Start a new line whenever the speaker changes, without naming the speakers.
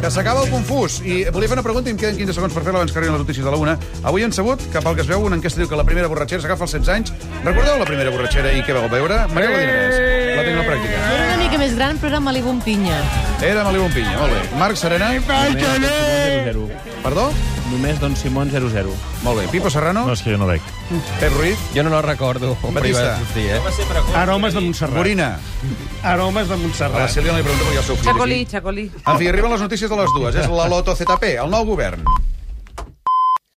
que s'acaba el confús. I volia fer una pregunta i em queden 15 segons per fer-la abans que arribin les notícies de la una. Avui hem sabut que, pel que es veu, una enquesta diu que la primera borratxera s'agafa als 16 anys. Recordeu la primera borratxera i què vau veure? Maria Godinès, la tinc a la pràctica.
Era una mica més gran, però era Malibu amb pinya.
Era Malibu amb pinya, molt bé. Marc Serena. Perdó?
Només Don Simón 0-0.
Molt bé. Pipo Serrano.
No, és que jo no veig.
Pep Ruiz.
Jo no, no recordo.
Batista.
Sí, eh?
Aromes de Montserrat.
Borina.
Aromes de
A la
Montserrat.
Sílvia no li pregunto perquè jo sou fill.
Xacolí,
aquí.
xacolí.
En fi, arriben les notícies de les dues. És la Loto ZP, el nou govern.